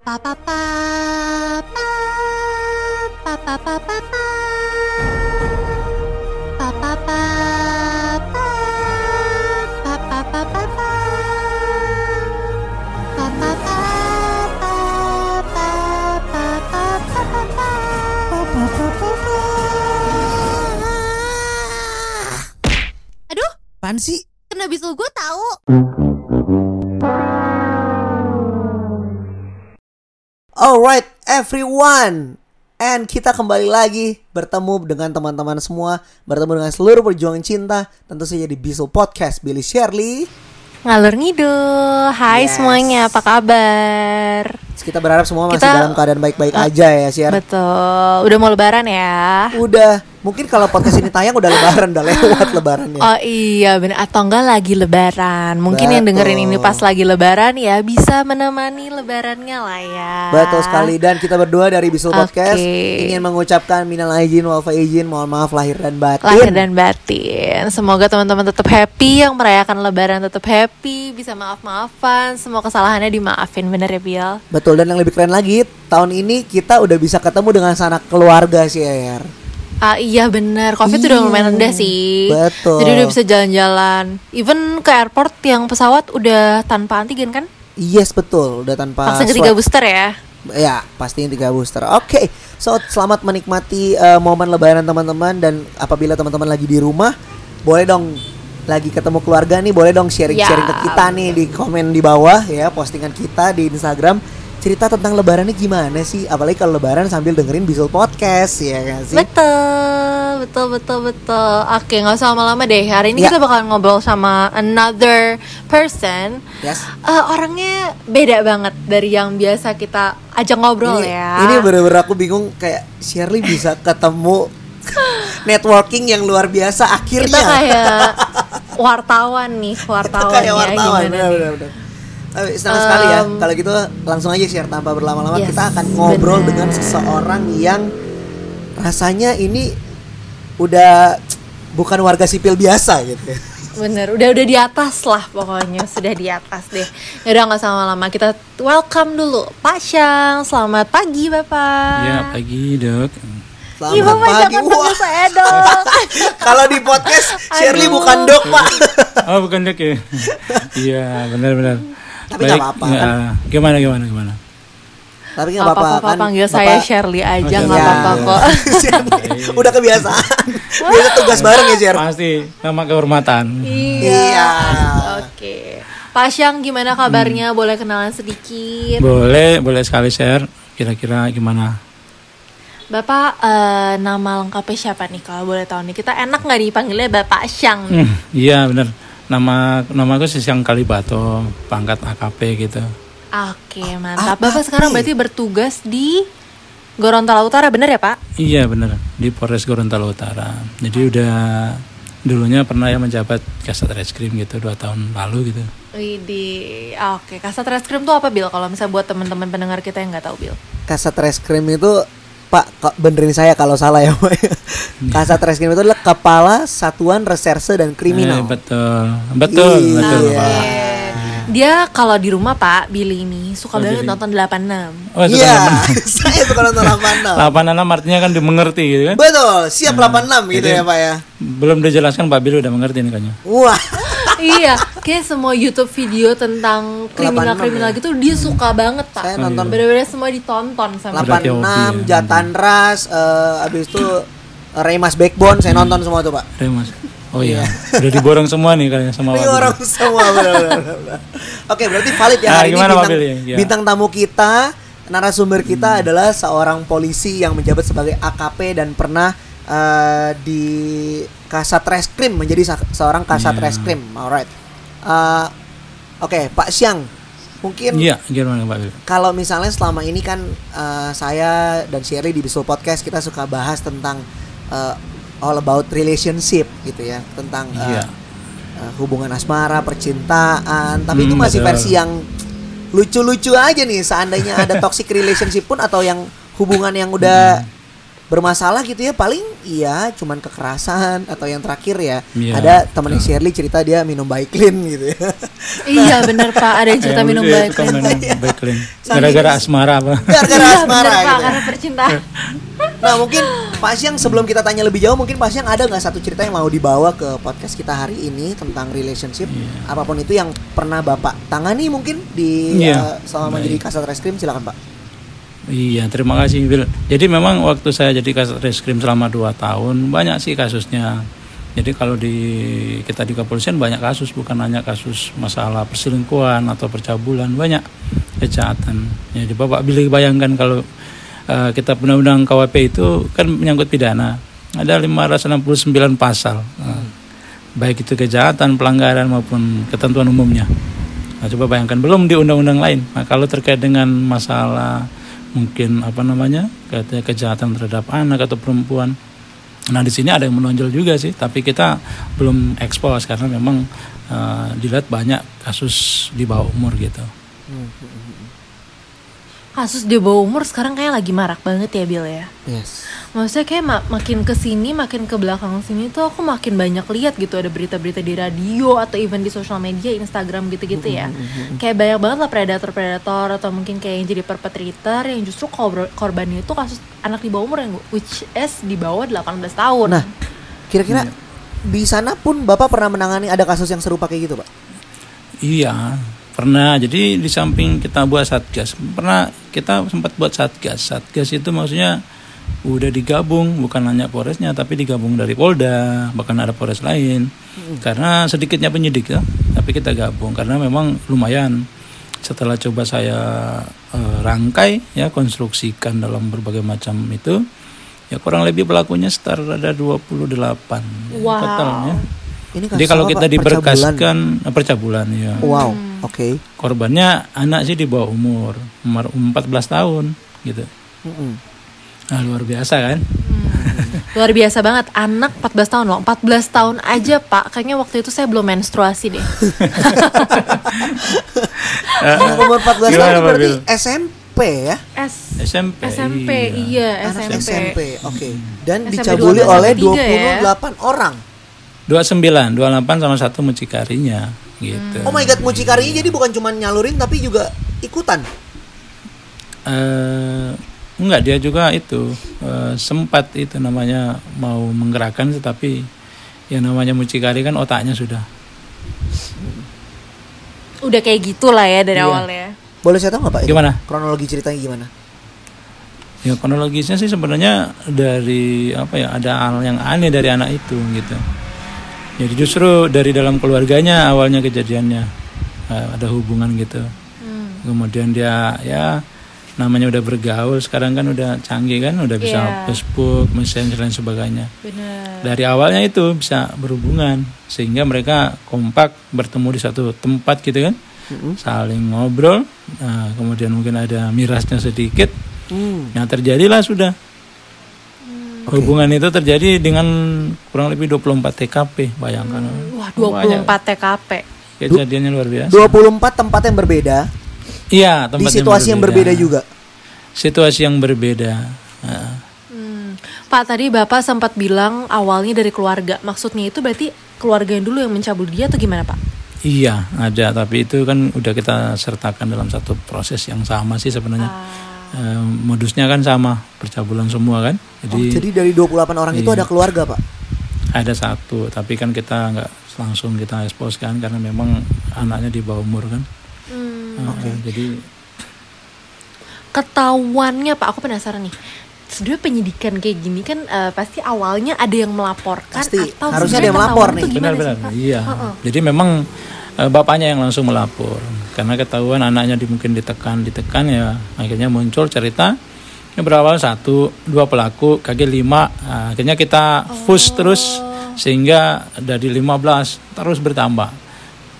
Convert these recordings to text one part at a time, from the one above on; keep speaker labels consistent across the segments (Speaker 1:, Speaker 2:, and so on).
Speaker 1: pa pa pa pa pa pa pa pa pa pa pa pa pa pa pa pa pa pa pa pa pa pa pa pa pa pa pa. Aduh,
Speaker 2: Apaan sih?
Speaker 1: kena bisul gue tahu.
Speaker 2: Alright everyone And kita kembali lagi bertemu dengan teman-teman semua Bertemu dengan seluruh perjuangan cinta Tentu saja di Bisul Podcast Billy Shirley
Speaker 3: Ngalur ngidul. Hai
Speaker 2: Yes.
Speaker 3: semuanya, apa kabar?
Speaker 2: Kita berharap semua masih
Speaker 3: Kita- Ah,
Speaker 2: dalam keadaan baik-baik aja ya Shir
Speaker 3: Betul. Udah mau lebaran ya?
Speaker 2: Udah, mungkin kalau podcast ini tayang udah lebaran, udah lewat lebarannya
Speaker 3: Oh iya benar atau enggak lagi lebaran. Mungkin yang
Speaker 2: Betul.
Speaker 3: dengerin ini pas lagi lebaran ya bisa menemani lebarannya lah ya.
Speaker 2: Betul sekali dan kita berdua dari Bisul
Speaker 3: Oke.
Speaker 2: Podcast ingin mengucapkan minal aidin wal faizin, mohon maaf lahir dan batin.
Speaker 3: Lahir dan batin. Semoga teman-teman tetap happy, yang merayakan lebaran tetap happy, bisa maaf-maafan, semua kesalahannya dimaafin bener ya Bill.
Speaker 2: Betul dan yang lebih keren lagi, tahun ini kita udah bisa ketemu dengan sanak keluarga sih Ayer.
Speaker 3: Ah iya bener, covid udah lumayan rendah sih
Speaker 2: betul.
Speaker 3: Jadi udah bisa jalan-jalan Even ke airport yang pesawat udah tanpa antigen kan?
Speaker 2: Yes betul, udah tanpa
Speaker 3: Vaksin ketiga
Speaker 2: swab.
Speaker 3: booster ya
Speaker 2: Ya, pastinya tiga booster. Oke, so selamat menikmati eh, momen lebaran teman-teman dan apabila teman-teman lagi di rumah, boleh dong lagi ketemu keluarga nih, boleh dong sharing-sharing
Speaker 3: Ya,
Speaker 2: ke kita nih di komen di bawah ya, postingan kita di Instagram cerita tentang lebarannya gimana sih? Apalagi kalau lebaran sambil dengerin Bisul Podcast ya kan sih?
Speaker 3: Betul, betul, betul, betul Oke nggak usah lama-lama deh Hari ini
Speaker 2: Ya.
Speaker 3: kita bakal ngobrol sama another person
Speaker 2: Yes.
Speaker 3: Eh, Orangnya beda banget dari yang biasa kita ajak ngobrol
Speaker 2: ini,
Speaker 3: ya
Speaker 2: Ini bener-bener aku bingung kayak Shirley bisa ketemu networking yang luar biasa akhirnya.
Speaker 3: Kita kayak wartawan nih, wartawan
Speaker 2: ya. kayak
Speaker 3: ya,
Speaker 2: wartawan
Speaker 3: gimana
Speaker 2: benar
Speaker 3: nih?
Speaker 2: benar benar Eh, senang sekali ya kalau gitu langsung aja share tanpa berlama-lama
Speaker 3: Yes,
Speaker 2: kita akan ngobrol
Speaker 3: benar.
Speaker 2: dengan seseorang yang rasanya ini udah bukan warga sipil biasa gitu
Speaker 3: Bener, udah udah di atas lah pokoknya sudah di atas deh. Ya Udah nggak sama lama kita welcome dulu Pak Syang. Selamat pagi bapak.
Speaker 2: Iya.
Speaker 4: Ya pagi dok.
Speaker 2: selamat
Speaker 3: Iya bapak
Speaker 2: pagi
Speaker 3: jangan
Speaker 2: Wah,
Speaker 3: panggil saya dong.
Speaker 2: kalau di podcast Shirley
Speaker 3: Aduh.
Speaker 2: bukan dok pak
Speaker 4: Oh bukan dok ya? Iya benar-benar.
Speaker 2: Tapi nggak apa-apa, kan?
Speaker 4: iya. Gimana gimana gimana?
Speaker 2: tapi nggak
Speaker 3: Gak
Speaker 2: apa-apa
Speaker 3: apa-apa
Speaker 2: kan
Speaker 3: panggil
Speaker 2: Bapak- Iya.
Speaker 3: saya Shirley aja
Speaker 4: Oh,
Speaker 3: nggak
Speaker 4: Shirley.
Speaker 3: apa-apa
Speaker 4: Ya.
Speaker 3: kok.
Speaker 2: Shirley, udah kebiasaan biasa tugas bareng ya Shir
Speaker 4: Pasti nama kehormatan.
Speaker 2: iya
Speaker 3: Oke. Pak Syang gimana
Speaker 2: Hmm.
Speaker 3: kabarnya? Boleh kenalan sedikit.
Speaker 4: Boleh boleh sekali share. Kira-kira gimana?
Speaker 3: Bapak eh, nama lengkapnya siapa nih kalau boleh tahu nih? Kita enak nggak dipanggilnya Bapak Syang? nih?
Speaker 4: Hmm, Iya benar. Nama nama aku Siang Kalibato, pangkat AKP gitu.
Speaker 3: Oke
Speaker 2: Hmm. Ah,
Speaker 3: mantap. Bapak sekarang berarti bertugas di Gorontalo Utara bener ya Pak?
Speaker 4: Iya benar di Polres Gorontalo Utara. Jadi udah dulunya pernah ya menjabat kasat reskrim gitu dua tahun lalu gitu.
Speaker 3: Widih, oke. Kasat reskrim tuh apa Bill? Kalau misalnya buat teman-teman pendengar kita yang nggak tahu Bill.
Speaker 2: kasat reskrim itu Pak kok benerin saya kalau salah ya Pak.
Speaker 4: Iya.
Speaker 2: Kasat reskrim itu adalah kepala satuan reserse dan kriminal.
Speaker 4: Eh, betul betul
Speaker 2: Iya.
Speaker 4: betul.
Speaker 2: Iya.
Speaker 4: Pak.
Speaker 3: Dia kalau di rumah Pak Billy ini suka banget nonton 86.
Speaker 4: Oh, itu
Speaker 2: Iya,
Speaker 4: teman-teman.
Speaker 2: saya suka nonton 86.
Speaker 4: Lapan enam artinya kan dimengerti gitu kan?
Speaker 2: Betul, siap 86 gitu ya Pak ya.
Speaker 4: Belum dijelaskan Pak Bill udah mengerti nih kayaknya.
Speaker 2: Wah,
Speaker 3: iya, kayak semua YouTube video tentang
Speaker 2: 86
Speaker 3: kriminal-kriminal gitu dia suka banget
Speaker 2: ya. Hmm. saya
Speaker 3: Pak.
Speaker 2: nonton
Speaker 3: Bener-bener semua ditonton sama.
Speaker 4: Berarti
Speaker 2: 86,
Speaker 4: hobi ya.
Speaker 2: Jatan Ras, eh, abis itu Remas Backbone, saya nonton semua tuh Pak.
Speaker 4: Ayo, Mas. Oh iya, udah diborong semua nih kayaknya sama Pak
Speaker 2: Ini
Speaker 4: Bill.
Speaker 2: orang semua benar, benar, benar. Oke, berarti valid ya
Speaker 4: Nah,
Speaker 2: hari ini
Speaker 4: gimana, Pak
Speaker 2: bintang,
Speaker 4: Billy? Ya.
Speaker 2: bintang tamu kita narasumber kita
Speaker 4: Hmm.
Speaker 2: adalah seorang polisi yang menjabat sebagai AKP dan pernah eh, di Kasat Reskrim menjadi sa- seorang Kasat
Speaker 4: Iya.
Speaker 2: Reskrim. Alright. Eh, Oke, Pak Siang. Mungkin
Speaker 4: Iya, gimana Pak Bill?
Speaker 2: kalau misalnya selama ini kan eh, saya dan Sherry di Bisul Podcast kita suka bahas tentang eh, all about relationship gitu ya, tentang eh,
Speaker 4: Iya.
Speaker 2: eh, hubungan asmara, percintaan, tapi itu
Speaker 4: Hmm,
Speaker 2: masih
Speaker 4: betul.
Speaker 2: versi yang
Speaker 4: Hmm.
Speaker 2: lucu-lucu aja nih. Seandainya ada toxic relationship pun atau yang hubungan yang udah bermasalah gitu ya paling iya cuman kekerasan atau yang terakhir ya
Speaker 4: Iya,
Speaker 2: ada temennya Shirley cerita dia minum baiklin gitu ya
Speaker 3: iya bener pak ada yang cerita
Speaker 4: Yang
Speaker 3: minum
Speaker 4: itu
Speaker 3: baik
Speaker 4: kan minum Baiklin.
Speaker 2: Saking-
Speaker 4: Gara-gara asmara apa?
Speaker 2: gara-gara
Speaker 3: iya
Speaker 2: asmara
Speaker 3: bener pak
Speaker 2: gitu ya.
Speaker 3: karena percintaan
Speaker 2: Nah mungkin Pak Siang sebelum kita tanya lebih jauh mungkin Pak Siang ada nggak satu cerita yang mau dibawa ke podcast kita hari ini tentang relationship apapun itu yang pernah Bapak tangani mungkin di
Speaker 4: Iya.
Speaker 2: eh, selama menjadi
Speaker 4: Baik.
Speaker 2: kasat reskrim silakan Pak.
Speaker 4: Iya, terima kasih Wil. Jadi memang waktu saya jadi kasat reskrim selama 2 tahun banyak sih kasusnya. Jadi kalau di kita di kepolisian banyak kasus, bukan hanya kasus masalah perselingkuhan atau percabulan, banyak kejahatan. Jadi Bapak Billy bayangkan kalau eh, kita undang-undang KWP itu kan menyangkut pidana. Ada 569 pasal. Nah, Baik itu kejahatan, pelanggaran maupun ketentuan umumnya. Nah, coba bayangkan belum di undang-undang lain. Nah, kalau terkait dengan masalah mungkin apa namanya katanya kejahatan terhadap anak atau perempuan. Nah, di sini ada yang menonjol juga sih, tapi kita belum expose karena memang eh, dilihat banyak kasus di bawah umur gitu.
Speaker 3: kasus di bawah umur sekarang kayak lagi marak banget ya Bill ya
Speaker 2: Yes.
Speaker 3: Maksudnya kayak ma- makin ke sini, makin ke belakang sini tuh aku makin banyak lihat gitu ada berita-berita di radio atau even di sosial media, Instagram gitu-gitu ya.
Speaker 2: Mm-hmm,
Speaker 3: Kayak banyak banget lah predator-predator atau mungkin kayak yang jadi perpetrator yang justru kobro- korbannya itu kasus anak di bawah umur yang which is di bawah 18 tahun. Mm-hmm.
Speaker 2: Nah kira-kira
Speaker 4: Iya.
Speaker 2: di sana pun Bapak pernah menangani ada kasus yang serupa kayak gitu Pak?
Speaker 4: Iya, pernah. Jadi di samping kita buat satgas, pernah kita sempat buat satgas. Satgas itu maksudnya udah digabung, bukan hanya Polresnya, tapi digabung dari Polda, bahkan ada Polres lain. Karena sedikitnya penyidik ya, tapi kita gabung karena memang lumayan. Setelah coba saya eh, rangkai ya konstruksikan dalam berbagai macam itu, ya kurang lebih pelakunya sekitar ada 28
Speaker 3: Wow.
Speaker 4: ya, totalnya.
Speaker 2: Ini
Speaker 4: Jadi kalau
Speaker 2: apa,
Speaker 4: kita
Speaker 2: Pak? Percabulan.
Speaker 4: diberkaskan eh, percabulan ya.
Speaker 2: Wow, oke.
Speaker 4: Korbannya anak sih di bawah umur, umur 14 tahun gitu.
Speaker 2: Mm-mm.
Speaker 4: Nah, luar biasa kan?
Speaker 2: Hmm.
Speaker 3: Luar biasa banget anak 14 tahun loh. 14 tahun aja, Pak. Kayaknya waktu itu saya belum menstruasi deh.
Speaker 4: Eh,
Speaker 2: Anak Nah, umur 14 tahun
Speaker 4: Gimana, Pak
Speaker 2: berarti
Speaker 4: Bil?
Speaker 2: SMP ya?
Speaker 3: S
Speaker 4: SMP.
Speaker 3: SMP,
Speaker 4: iya.
Speaker 3: iya,
Speaker 2: Anak
Speaker 3: SMP.
Speaker 2: SMP, oke.
Speaker 3: Hmm.
Speaker 2: Dan
Speaker 3: SMP
Speaker 2: dicabuli oleh
Speaker 3: 23 ya.
Speaker 2: 28 orang.
Speaker 4: 29, 28 sama satu mucikarinya gitu.
Speaker 2: Oh my god, mucikarinya jadi bukan cuma nyalurin tapi juga ikutan.
Speaker 4: Eh, enggak dia juga itu eh, sempat itu namanya mau menggerakkan tetapi yang namanya mucikari kan otaknya sudah.
Speaker 3: Udah kayak gitulah ya dari
Speaker 4: Iya.
Speaker 3: awal ya.
Speaker 2: Boleh saya tahu nggak pak? itu?
Speaker 4: Gimana?
Speaker 2: Kronologi ceritanya gimana?
Speaker 4: Ya kronologisnya sih sebenarnya dari apa ya ada hal yang aneh dari anak itu gitu. Jadi justru dari dalam keluarganya awalnya kejadiannya eh, ada hubungan gitu.
Speaker 3: Hmm.
Speaker 4: Kemudian dia ya namanya udah bergaul sekarang kan udah canggih kan udah bisa
Speaker 3: Iya.
Speaker 4: Facebook, Messenger dan sebagainya.
Speaker 3: Bener.
Speaker 4: Dari awalnya itu bisa berhubungan sehingga mereka kompak bertemu di satu tempat gitu kan. Saling ngobrol, nah, kemudian mungkin ada mirasnya sedikit.
Speaker 2: Hmm.
Speaker 4: Nah terjadilah sudah Hubungan itu terjadi dengan kurang lebih 24 TKP Bayangkan
Speaker 2: Hmm.
Speaker 3: Wah, 24 TKP.
Speaker 4: Kejadiannya luar biasa
Speaker 2: 24 tempat yang berbeda
Speaker 4: Iya tempat
Speaker 2: di situasi yang berbeda, juga.
Speaker 4: Situasi yang berbeda Nah,
Speaker 3: Hmm. Pak, tadi Bapak sempat bilang awalnya dari keluarga. Maksudnya itu berarti keluarga yang dulu yang mencabul dia atau gimana, Pak?
Speaker 4: Iya ada Tapi itu kan udah kita sertakan dalam satu proses yang sama sih sebenarnya
Speaker 2: Ah.
Speaker 4: Eh, Modusnya kan sama Percabulan semua kan
Speaker 2: Oh,
Speaker 4: Jadi Iya.
Speaker 2: jadi dari 28 orang itu ada keluarga pak.
Speaker 4: ada satu Tapi kan kita nggak langsung kita expose kan Karena memang anaknya di bawah umur kan
Speaker 3: Hmm.
Speaker 4: Nah, Jadi
Speaker 3: Ketahuannya, Pak, aku penasaran nih. Sebenarnya penyidikan kayak gini kan eh, pasti awalnya ada yang melaporkan
Speaker 2: Pasti.
Speaker 3: atau sebenarnya
Speaker 2: Harusnya ada yang melapor
Speaker 3: ketahuan
Speaker 2: nih.
Speaker 3: tuh gimana
Speaker 4: benar-benar
Speaker 3: sih, Pak?
Speaker 4: iya jadi memang eh, bapaknya yang langsung melapor karena ketahuan anaknya di- mungkin ditekan ditekan ya akhirnya muncul cerita yang berawal satu dua pelaku kaki lima Nah, akhirnya kita
Speaker 3: Oh.
Speaker 4: push terus sehingga dari 15 terus bertambah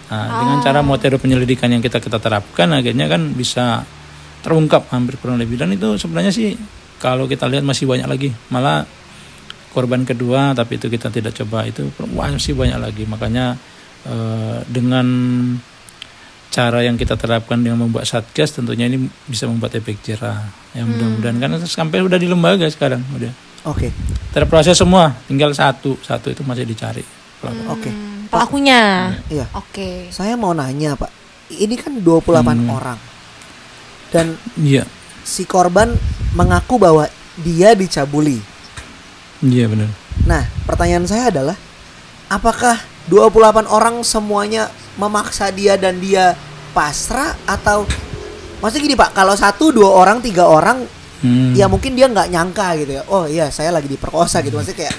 Speaker 4: Nah, dengan
Speaker 3: Ah.
Speaker 4: cara metode penyelidikan yang kita kita terapkan akhirnya kan bisa terungkap hampir kurang lebih dan itu sebenarnya sih kalau kita lihat masih banyak lagi malah korban kedua tapi itu kita tidak coba itu masih banyak lagi makanya eh, dengan cara yang kita terapkan dengan membuat Ya, satgas tentunya ini bisa membuat efek jerah yang mudah-mudahan karena sampai udah di lembaga sekarang udah
Speaker 2: Oke.
Speaker 4: Terproses semua, tinggal satu, satu itu masih dicari. pelaku.
Speaker 2: Oke.
Speaker 3: Hmm, pelakunya.
Speaker 2: Iya.
Speaker 3: Oke.
Speaker 2: Saya mau nanya, Pak. Ini kan 28
Speaker 4: Hmm.
Speaker 2: orang. Dan
Speaker 4: Iya,
Speaker 2: si korban mengaku bahwa dia dicabuli.
Speaker 4: iya benar.
Speaker 2: Nah, pertanyaan saya adalah apakah 28 orang semuanya memaksa dia dan dia pasrah atau maksudnya gini Pak, kalau satu dua orang tiga orang
Speaker 4: Hmm. Hmm.
Speaker 2: ya mungkin dia nggak nyangka gitu ya. Oh iya, saya lagi diperkosa gitu. Maksudnya kayak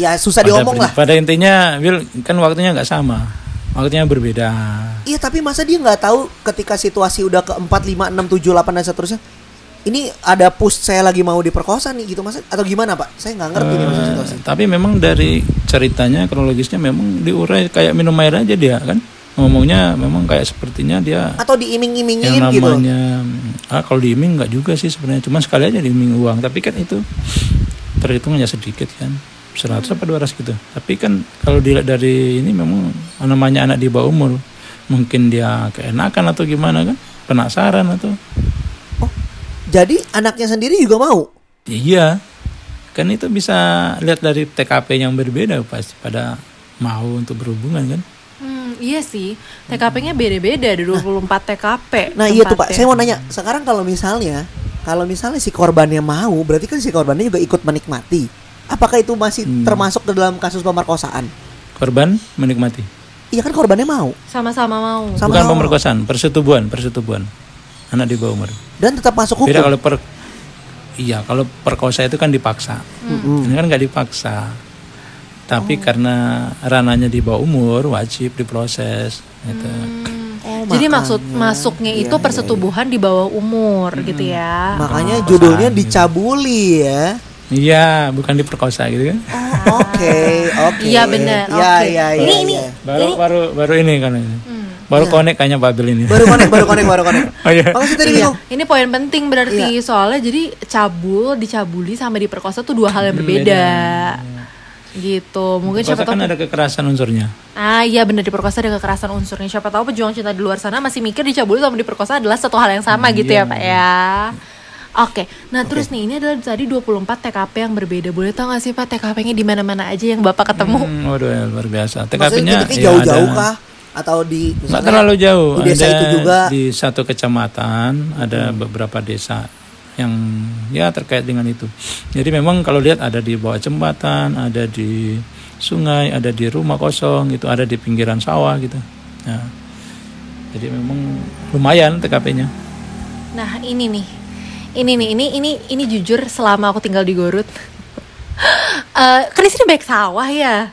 Speaker 2: ya susah
Speaker 4: pada,
Speaker 2: diomong lah.
Speaker 4: pada intinya, Will kan waktunya nggak sama, waktunya berbeda.
Speaker 2: Iya, tapi masa dia nggak tahu ketika situasi udah ke 4 5 6 7 8 dan seterusnya. Ini ada push saya lagi mau diperkosa nih gitu masa atau gimana Pak? Saya nggak ngerti nih maksud situasi.
Speaker 4: Gitu Tapi memang dari ceritanya kronologisnya memang diurai kayak minum air aja dia kan ngomongnya memang kayak sepertinya dia
Speaker 2: Atau diiming-imingin
Speaker 4: yang
Speaker 2: gitu.
Speaker 4: namanya ah, kalau diiming nggak juga sih sebenarnya cuma sekali aja diiming uang tapi kan itu terhitungnya sedikit kan 100 apa 200 gitu tapi kan kalau dilihat dari ini memang namanya anak di bawah umur mungkin dia keenakan atau gimana kan penasaran atau
Speaker 2: Oh, jadi anaknya sendiri juga mau?
Speaker 4: iya kan itu bisa lihat dari TKP yang berbeda pasti pada mau untuk berhubungan kan
Speaker 3: Hmm, iya sih. TKP-nya beda-beda ada 24 TKP.
Speaker 2: Nah iya tuh
Speaker 3: tempatnya.
Speaker 2: Pak, saya mau nanya. Sekarang kalau misalnya, kalau misalnya si korbannya mau, berarti kan si korbannya juga ikut menikmati. Apakah itu masih
Speaker 4: Hmm.
Speaker 2: termasuk ke dalam kasus pemerkosaan?
Speaker 4: korban menikmati
Speaker 2: Iya kan korbannya mau
Speaker 3: Sama-sama mau.
Speaker 2: Sama-
Speaker 4: bukan pemerkosaan persetubuhan persetubuhan anak di bawah umur
Speaker 2: dan tetap masuk
Speaker 4: Beda
Speaker 2: hukum.
Speaker 4: kalau per iya kalau perkosa itu kan dipaksa. Ini kan nggak dipaksa. Tapi karena rananya di bawah umur wajib diproses gitu.
Speaker 3: Hmm.
Speaker 2: Oh,
Speaker 3: Jadi
Speaker 2: makanya.
Speaker 3: maksud masuknya itu persetubuhan di bawah umur gitu ya.
Speaker 2: Makanya judulnya dicabuli ya.
Speaker 4: Iya, bukan diperkosa gitu kan.
Speaker 2: Oke, oke.
Speaker 3: Iya, benar.
Speaker 2: Iya,
Speaker 3: Oke.
Speaker 2: iya, iya.
Speaker 3: Ini,
Speaker 2: iya.
Speaker 3: ini.
Speaker 4: Baru baru baru ini kan ini. Baru konek kayaknya Babil ini.
Speaker 2: Baru konek, baru konek, baru konek.
Speaker 4: Oh, iya.
Speaker 2: Makasih tadi
Speaker 3: Iya,
Speaker 2: bingung.
Speaker 3: ini poin penting berarti soalnya jadi cabul, dicabuli sama diperkosa tuh dua hal yang berbeda. Gitu. Mungkin siapa
Speaker 4: Perkosa
Speaker 3: tahu
Speaker 4: kan ada kekerasan unsurnya.
Speaker 3: Ah iya bener diperkosa dengan kekerasan unsurnya Siapa tahu pejuang cinta di luar sana masih mikir dicabuli sama diperkosa adalah satu hal yang sama gitu ya Pak ya Oke, nah terus nih ini adalah tadi 24 TKP yang berbeda Boleh tahu gak sih Pak TKP-nya di mana mana aja yang Bapak ketemu?
Speaker 4: Hmm, waduh ya, luar biasa.
Speaker 2: Maksudnya
Speaker 4: TKP-nya
Speaker 2: titiknya
Speaker 4: ya
Speaker 2: jauh-jauh
Speaker 4: ada-
Speaker 2: kah? Atau di
Speaker 4: Nggak
Speaker 2: misalnya
Speaker 4: terlalu jauh.
Speaker 2: Di desa
Speaker 4: ada
Speaker 2: itu juga.
Speaker 4: di satu kecamatan
Speaker 3: Hmm.
Speaker 4: ada beberapa desa yang ya terkait dengan itu. Jadi memang kalau lihat ada di bawah jembatan, ada di sungai, ada di rumah kosong gitu, ada di pinggiran sawah gitu. Ya. Jadi memang lumayan TKP-nya.
Speaker 3: Nah ini nih, ini nih, ini ini ini jujur selama aku tinggal di Gorut Eh, Kan di sini banyak sawah ya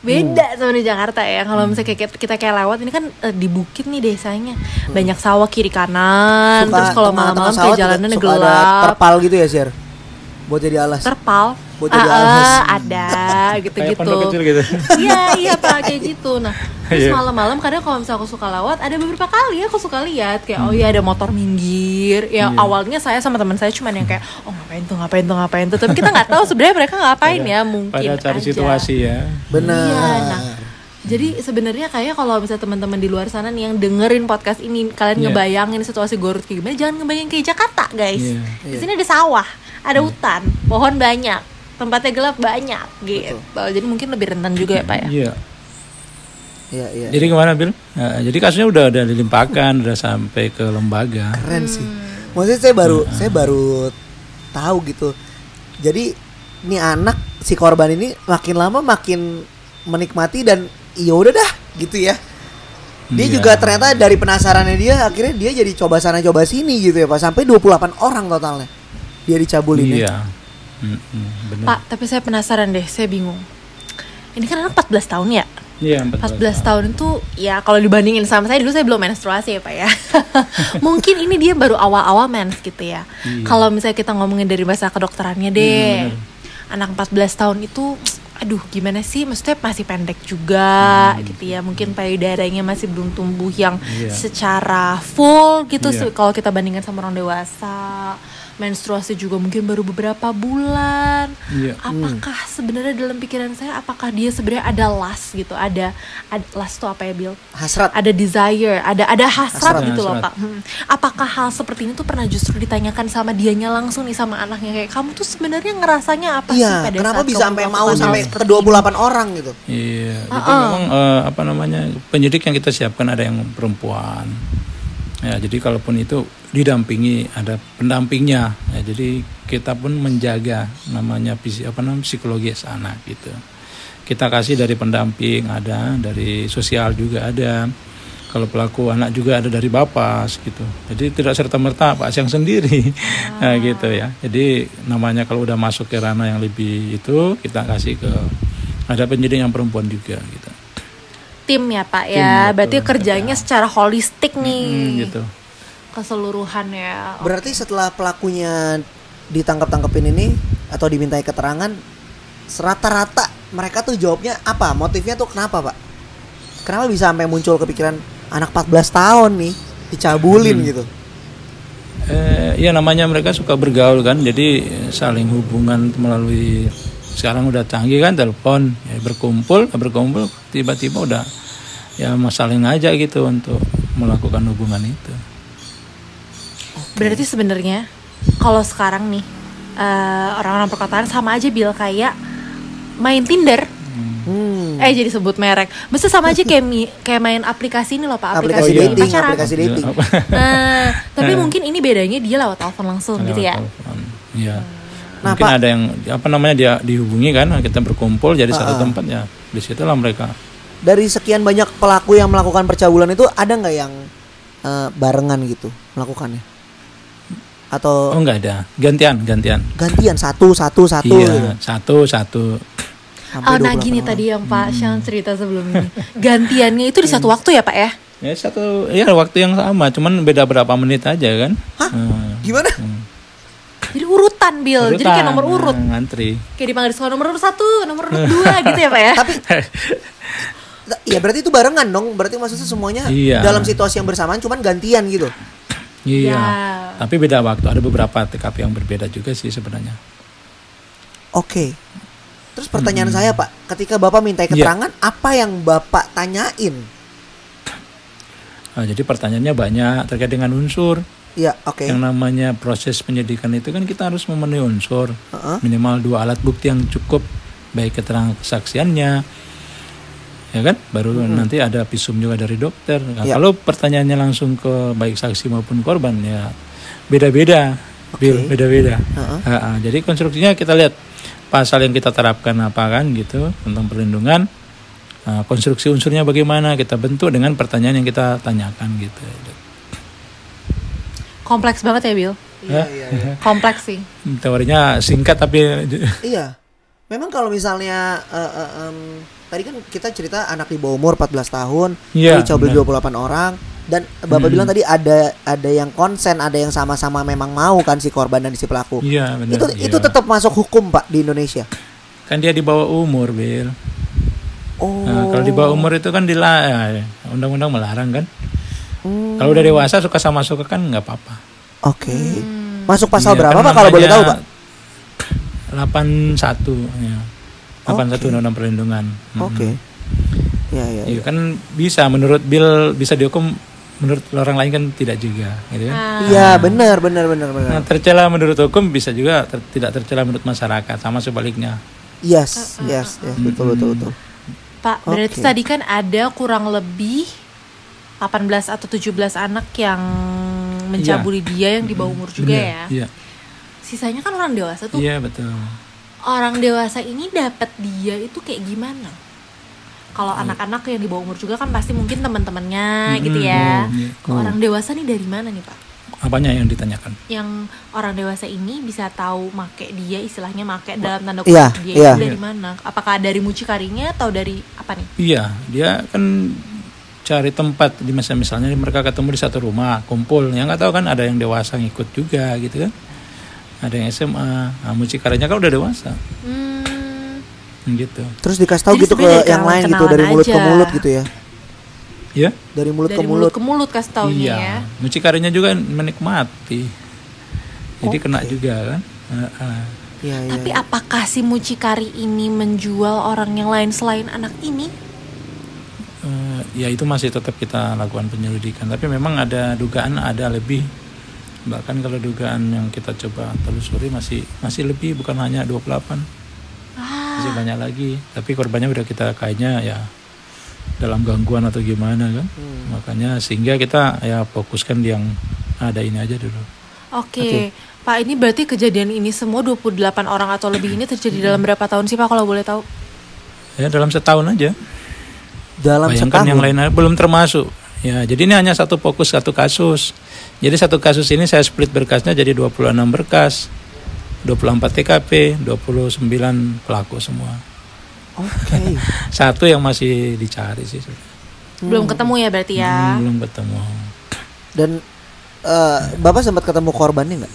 Speaker 2: Hmm.
Speaker 3: Beda sama di Jakarta ya Kalau misalnya kayak- kita kayak lewat ini kan eh, di bukit nih desanya Banyak sawah kiri kanan
Speaker 2: Hmm. Suka
Speaker 3: Terus kalau
Speaker 2: tengah-tengah
Speaker 3: malam-malam
Speaker 2: sawah
Speaker 3: kayak
Speaker 2: juga
Speaker 3: jalanannya
Speaker 2: suka ada
Speaker 3: gelap
Speaker 2: terpal gitu ya Sir buat jadi alas
Speaker 3: terpal
Speaker 2: Buat jadi
Speaker 3: Ah, ah,
Speaker 2: alas.
Speaker 3: ada
Speaker 4: Kayak
Speaker 3: gitu-gitu
Speaker 4: pondok kecil gitu.
Speaker 3: iya iya pak kayak gitu nah terus
Speaker 4: Iya.
Speaker 3: malam-malam kadang kalau misalnya aku suka lewat ada beberapa kali aku suka lihat kayak oh iya ada motor minggir
Speaker 4: Iya.
Speaker 3: ya awalnya saya sama teman saya cuman yang kayak oh ngapain tuh ngapain tuh ngapain tuh tapi kita nggak tahu sebenarnya mereka ngapain ya mungkin
Speaker 4: Iya. Pada cari
Speaker 3: aja.
Speaker 4: situasi ya.
Speaker 2: benar
Speaker 3: Iya, nah. Jadi sebenarnya kayak kalau misalnya teman-teman di luar sana nih yang dengerin podcast ini kalian
Speaker 4: Iya.
Speaker 3: ngebayangin situasi Gorut kayak gimana, jangan ngebayangin kayak Jakarta, guys.
Speaker 4: Iya.
Speaker 3: Di sini ada sawah, ada hutan, pohon banyak, tempatnya gelap banyak gitu. Jadi mungkin lebih rentan juga ya, Pak ya.
Speaker 4: Iya.
Speaker 2: iya iya
Speaker 4: Jadi kemana Bil? Ya, jadi kasusnya udah ada dilimpahkan, udah sampai ke lembaga.
Speaker 2: keren sih
Speaker 3: Hmm.
Speaker 2: maksudnya saya baru saya baru tahu gitu jadi ini anak si korban ini makin lama makin menikmati dan iya udah dah gitu ya dia
Speaker 4: Iya.
Speaker 2: juga ternyata dari penasarannya dia akhirnya dia jadi coba sana coba sini gitu ya Pak sampai 28 orang totalnya dia dicabulin ya
Speaker 4: Iya. Mm-mm, bener.
Speaker 3: Pak, tapi saya penasaran deh, saya bingung. Ini kan anak 14 tahun ya?
Speaker 4: Iya,
Speaker 3: 14 tahun itu ya kalau dibandingin sama saya dulu saya belum menstruasi ya Pak ya. Mungkin ini dia baru awal-awal mens gitu ya.
Speaker 4: Iya.
Speaker 3: Kalau misalnya kita ngomongin dari bahasa kedokterannya deh. anak 14 tahun itu aduh gimana sih maksudnya masih pendek juga gitu ya mungkin payudaranya masih belum tumbuh yang
Speaker 4: Hmm, Iya.
Speaker 3: secara full gitu
Speaker 4: Iya.
Speaker 3: se- kalau kita bandingkan sama orang dewasa menstruasi juga mungkin baru beberapa bulan
Speaker 4: Iya.
Speaker 3: apakah sebenarnya dalam pikiran saya apakah dia sebenarnya ada lust gitu ada, ada lust tuh apa ya Bill
Speaker 2: Hasrat.
Speaker 3: ada desire, ada ada hasrat,
Speaker 4: Hasrat.
Speaker 3: gitu loh pak.
Speaker 4: Hasrat.
Speaker 3: Hmm. Apakah hal seperti ini tuh pernah justru ditanyakan sama dianya langsung nih sama anaknya kayak kamu tuh sebenarnya ngerasanya apa sih
Speaker 2: Iya,
Speaker 3: pada
Speaker 2: kenapa
Speaker 3: saat
Speaker 2: bisa
Speaker 3: kamu
Speaker 2: sampai
Speaker 3: melakukan
Speaker 2: mau
Speaker 3: hal
Speaker 2: sampai
Speaker 3: seperti
Speaker 2: ke 28 orang gitu?
Speaker 4: Iya, jadi memang eh, apa namanya penyidik yang kita siapkan ada yang perempuan. Ya, jadi kalaupun itu didampingi ada pendampingnya. Ya, jadi kita pun menjaga namanya psi- apa namanya psikologis anak gitu. Kita kasih dari pendamping ada, dari sosial juga ada. Kalau pelaku anak juga ada dari Bapas gitu. Jadi tidak serta merta Pak Siang sendiri. Nah, gitu ya. Jadi namanya kalau udah masuk ke ranah yang lebih itu kita kasih ke ada penyidik yang perempuan juga gitu
Speaker 3: tim ya pak ya? Berarti kerjanya secara holistik nih,
Speaker 4: Hmm, gitu
Speaker 3: keseluruhan ya.
Speaker 2: Berarti setelah pelakunya ditangkap-tangkepin ini atau dimintai keterangan, rata-rata mereka tuh jawabnya apa? Motifnya tuh kenapa, Pak? Kenapa bisa sampai muncul kepikiran anak 14 tahun nih dicabulin
Speaker 4: Hmm.
Speaker 2: gitu?
Speaker 4: eh, ya namanya mereka suka bergaul kan jadi eh, saling hubungan melalui sekarang udah canggih kan telepon ya, berkumpul berkumpul tiba-tiba udah ya masalah ngajak gitu untuk melakukan hubungan itu
Speaker 3: Berarti sebenarnya kalau sekarang nih eh, orang-orang perkotaan sama aja Bill kayak main Tinder.
Speaker 2: Hmm.
Speaker 3: Eh jadi sebut merek. Mesti sama aja kayak mi- kayak main aplikasi ini loh Pak, aplikasi,
Speaker 2: Aplikasi dating,
Speaker 3: pacaran.
Speaker 2: aplikasi
Speaker 4: Iya. Ya,
Speaker 2: dating.
Speaker 3: Eh, tapi mungkin ini bedanya dia lewat telepon langsung gitu ya.
Speaker 4: Telepon. Iya.
Speaker 2: Nah,
Speaker 4: mungkin
Speaker 2: Pak-
Speaker 4: ada yang apa namanya dia dihubungi kan kita berkumpul jadi satu tempat ya disitulah mereka
Speaker 2: Dari sekian banyak pelaku yang melakukan percabulan itu ada nggak yang eh, barengan gitu melakukannya?
Speaker 4: oh
Speaker 2: Atau
Speaker 4: nggak ada gantian gantian
Speaker 2: gantian satu satu satu gitu?
Speaker 4: iya satu satu
Speaker 3: Oh,
Speaker 2: Sampai
Speaker 3: nah
Speaker 2: 28
Speaker 3: gini
Speaker 2: orang.
Speaker 3: tadi yang
Speaker 4: Hmm.
Speaker 3: Pak Syam cerita sebelum ini. Gantiannya itu di satu
Speaker 2: Hmm.
Speaker 3: waktu ya, Pak ya?
Speaker 4: Ya satu ya waktu yang sama, cuman beda berapa menit aja kan.
Speaker 2: Hah?
Speaker 4: Hmm.
Speaker 2: Gimana?
Speaker 3: Jadi urutan, Bill. Jadi kayak
Speaker 4: Urutan,
Speaker 3: nomor urut.
Speaker 4: hmm, ngantri.
Speaker 3: Kayak dipanggil di sekolah nomor urut satu, nomor urut dua gitu ya, Pak ya?
Speaker 2: Tapi ya berarti itu barengan dong. Berarti maksudnya semuanya
Speaker 4: Iya.
Speaker 2: dalam situasi yang bersamaan cuman gantian gitu.
Speaker 4: Iya.
Speaker 3: Ya.
Speaker 4: Tapi beda waktu, ada beberapa TKP yang berbeda juga sih sebenarnya.
Speaker 2: Oke. Terus pertanyaan saya, Pak, ketika Bapak minta
Speaker 4: Hmm. Iya.
Speaker 2: keterangan, apa yang Bapak tanyain?
Speaker 4: Nah, jadi pertanyaannya banyak terkait dengan unsur.
Speaker 2: Iya, oke.
Speaker 4: Yang namanya proses penyidikan itu kan kita harus memenuhi unsur.
Speaker 2: Heeh.
Speaker 4: Minimal dua alat bukti yang cukup baik keterangan kesaksiannya. Ya kan? Baru nanti ada visum juga dari dokter. Nah,
Speaker 2: Ya.
Speaker 4: kalau pertanyaannya langsung ke baik saksi maupun korban ya beda-beda. Bill, beda-beda. Ha-ha. Jadi konstruksinya kita lihat pasal yang kita terapkan apa kan gitu tentang perlindungan Nah, konstruksi unsurnya bagaimana kita bentuk dengan pertanyaan yang kita tanyakan gitu.
Speaker 3: Kompleks banget ya, Bill.
Speaker 2: Iya, iya, iya.
Speaker 3: Kompleks sih.
Speaker 4: Teorinya singkat tapi
Speaker 2: Iya. Memang kalau misalnya eh, eh, em, tadi kan kita cerita anak di bawah umur 14 tahun,
Speaker 4: Iya,
Speaker 2: dicabuli
Speaker 4: benar. Hmm.
Speaker 2: 28 orang dan Bapak bilang tadi ada ada yang konsen, ada yang sama-sama memang mau kan si korban dan si pelaku.
Speaker 4: Iya benar.
Speaker 2: itu
Speaker 4: iya.
Speaker 2: itu tetap masuk hukum, Pak, di Indonesia.
Speaker 4: kan dia di bawah umur, Bil.
Speaker 2: Oh.
Speaker 4: Nah, kalau di bawah umur itu kan dilarang, undang-undang melarang kan. Kalau udah dewasa suka sama suka kan nggak apa-apa.
Speaker 2: Oh, Oke.
Speaker 3: Hmm.
Speaker 2: Masuk pasal
Speaker 4: Iya,
Speaker 2: berapa
Speaker 4: kan
Speaker 2: Pak kalau boleh tahu Pak?
Speaker 4: namanya 81 ya. 81 undang-undang perlindungan. Mm.
Speaker 2: Oke. Iya iya.
Speaker 4: Iya kan bisa menurut Bill bisa dihukum menurut orang lain kan tidak juga gitu kan.
Speaker 3: Ah.
Speaker 2: Iya benar benar benar benar.
Speaker 4: Nah, tercela menurut hukum bisa juga ter- tidak tercela menurut masyarakat sama sebaliknya.
Speaker 2: Yes,
Speaker 3: Uh,
Speaker 2: yes, yes, betul betul betul.
Speaker 4: Hmm.
Speaker 3: Pak, berarti
Speaker 2: Oke.
Speaker 3: tadi kan ada kurang lebih 18 atau 17 anak yang mencabuli dia yang di bawah umur juga ya.
Speaker 4: Iya.
Speaker 3: Sisanya kan orang dewasa tuh.
Speaker 4: Iya betul.
Speaker 3: Orang dewasa ini dapat dia itu kayak gimana? Kalau
Speaker 4: Iya.
Speaker 3: anak-anak yang di bawah umur juga kan pasti mungkin teman-temannya gitu ya.
Speaker 4: iya.
Speaker 3: Kalau orang dewasa nih dari mana nih, Pak?
Speaker 4: Apanya yang ditanyakan?
Speaker 3: Yang orang dewasa ini bisa tahu make dia istilahnya make dalam tanda kutip
Speaker 2: Iya,
Speaker 3: dia
Speaker 2: iya.
Speaker 3: itu dari mana? Apakah dari mucikarinya atau dari apa nih?
Speaker 4: Iya, dia kan cari tempat di masa misalnya mereka ketemu di satu rumah kumpul yang nggak tahu kan ada yang dewasa ngikut juga gitu kan ada yang SMA nah, mucikarinya kan udah dewasa
Speaker 3: Hmm.
Speaker 4: gitu
Speaker 2: Terus dikasih tahu
Speaker 3: Jadi
Speaker 2: gitu ke
Speaker 3: sebenarnya dari
Speaker 2: yang
Speaker 3: kenalan-
Speaker 2: lain gitu dari
Speaker 3: kenalan
Speaker 2: mulut ke
Speaker 3: aja.
Speaker 2: mulut gitu ya.
Speaker 4: ya
Speaker 2: Dari mulut
Speaker 3: Dari
Speaker 2: ke mulut.
Speaker 3: ke mulut kasih taunya ya.
Speaker 4: iya mucikarinya juga menikmati jadi kena juga kan Heeh.
Speaker 2: Iya, iya.
Speaker 3: Tapi apakah si mucikari ini menjual orang yang lain selain anak ini?
Speaker 4: Eh, ya itu masih tetap kita lakukan penyelidikan tapi memang ada dugaan ada lebih bahkan kalau dugaan yang kita coba telusuri masih masih lebih bukan hanya 28
Speaker 3: Ah,
Speaker 4: masih banyak lagi tapi korbannya udah kita kayaknya ya dalam gangguan atau gimana kan
Speaker 2: Hmm.
Speaker 4: makanya sehingga kita ya fokuskan di yang ada ini aja dulu
Speaker 3: Oke. Pak, ini berarti kejadian ini semua 28 orang atau lebih ini terjadi dalam berapa tahun sih Pak kalau boleh tahu?
Speaker 4: ya dalam setahun aja
Speaker 2: Dalam
Speaker 4: Bayangkan yang
Speaker 2: setahun.
Speaker 4: lain belum termasuk. Ya, jadi ini hanya satu fokus satu kasus. Jadi satu kasus ini saya split berkasnya jadi 26 berkas. 24 TKP, 29 pelaku semua.
Speaker 2: Oke.
Speaker 4: Satu yang masih dicari sih.
Speaker 3: Belum ketemu ya berarti ya.
Speaker 4: Hmm, Belum ketemu.
Speaker 2: Dan eh, Bapak sempat ketemu korbannya nggak?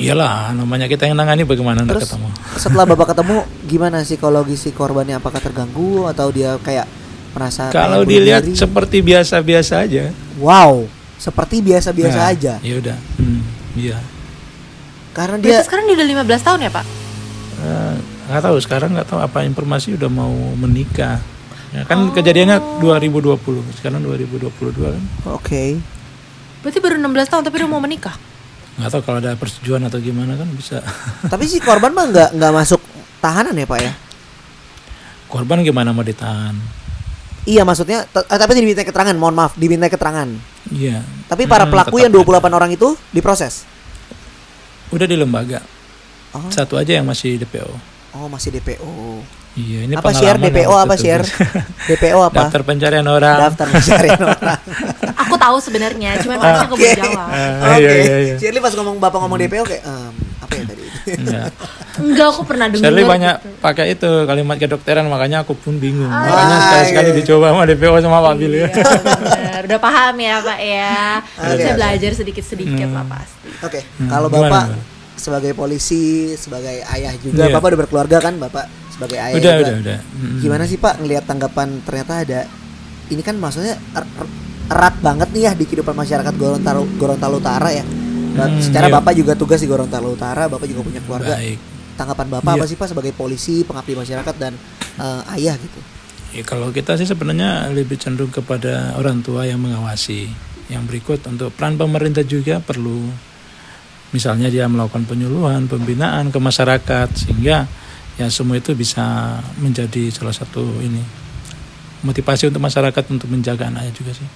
Speaker 4: Iyalah, namanya kita yang nangani bagaimana nggak
Speaker 2: Terus
Speaker 4: ketemu.
Speaker 2: setelah Bapak ketemu gimana psikologi si korbannya apakah terganggu atau dia kayak merasa
Speaker 4: Kalau
Speaker 2: kayak bunuh
Speaker 4: dilihat
Speaker 2: diri?
Speaker 4: seperti biasa-biasa aja.
Speaker 2: wow, seperti biasa-biasa
Speaker 4: Nah,
Speaker 2: aja.
Speaker 4: Ya udah. Hmm, iya.
Speaker 2: Karena dia
Speaker 3: Berarti sekarang dia udah 15 tahun ya Pak?
Speaker 4: Eh, nggak tahu sekarang nggak tahu apa informasi udah mau menikah
Speaker 2: Oh.
Speaker 4: ya, kan kejadiannya 2020 sekarang 2022 kan
Speaker 2: oke.
Speaker 3: Berarti baru 16 tahun tapi udah mau menikah?
Speaker 4: nggak tahu kalau ada persetujuan atau gimana kan bisa
Speaker 2: Tapi si korban mah nggak nggak masuk tahanan ya Pak ya?
Speaker 4: korban gimana mau ditahan
Speaker 2: Iya maksudnya t- eh, tapi diminta keterangan, mohon maaf, diminta keterangan.
Speaker 4: iya
Speaker 2: Tapi para
Speaker 4: Hmm,
Speaker 2: pelaku
Speaker 4: tetap
Speaker 2: yang 28 orang itu diproses.
Speaker 4: udah di lembaga
Speaker 2: Oh,
Speaker 4: satu aja yang masih DPO
Speaker 2: oh masih DPO.
Speaker 4: iya ini
Speaker 2: apa share
Speaker 4: pengalaman
Speaker 2: DPO
Speaker 4: yang
Speaker 2: apa
Speaker 4: tertulis.
Speaker 2: share? DPO apa?
Speaker 4: daftar pencarian orang
Speaker 2: Daftar pencarian orang.
Speaker 3: Aku tahu sebenarnya, cuman aku nggak boleh jawab.
Speaker 4: Ah, iya, iya, iya.
Speaker 2: Shirley pas ngomong bapak ngomong DPO kayak "Em, apa ya tadi?
Speaker 4: Iya.
Speaker 3: Enggak, aku pernah dengar.
Speaker 4: Shirley banyak pakai itu kalimat kedokteran makanya aku pun bingung makanya
Speaker 2: gitu. Ah,
Speaker 4: sekali sekali
Speaker 2: iya.
Speaker 4: dicoba sama DPO sama Pak Bil ya.
Speaker 3: Iya, bener. Udah paham ya Pak ya.
Speaker 2: Oke,
Speaker 3: Saya
Speaker 2: oke.
Speaker 3: belajar sedikit-sedikit lah pasti.
Speaker 2: Oke,
Speaker 4: Hmm,
Speaker 2: kalau
Speaker 4: gimana,
Speaker 2: bapak
Speaker 4: Mbak?
Speaker 2: sebagai polisi, sebagai ayah juga,
Speaker 4: Iya.
Speaker 2: bapak udah berkeluarga kan bapak sebagai ayah.
Speaker 4: udah
Speaker 2: juga.
Speaker 4: udah udah Hmm. Mm-mm.
Speaker 2: Gimana sih pak ngelihat tanggapan ternyata ada ini kan maksudnya er- er- erat banget nih ya di kehidupan masyarakat Gorontalo Gorontalo Utara ya. Ba-
Speaker 4: Hmm,
Speaker 2: Secara
Speaker 4: iya.
Speaker 2: bapak juga tugas di Gorontalo Utara, bapak juga punya keluarga.
Speaker 4: baik
Speaker 2: Tanggapan bapak
Speaker 4: Iya.
Speaker 2: apa sih pak sebagai polisi, pengabdi masyarakat dan eh, ayah gitu?
Speaker 4: Ya, kalau kita sih sebenarnya lebih cenderung kepada orang tua yang mengawasi. Yang berikut untuk peran pemerintah juga perlu. Misalnya dia melakukan penyuluhan, pembinaan ke masyarakat sehingga ya semua itu bisa menjadi salah satu ini motivasi untuk masyarakat untuk menjaga anaknya juga sih.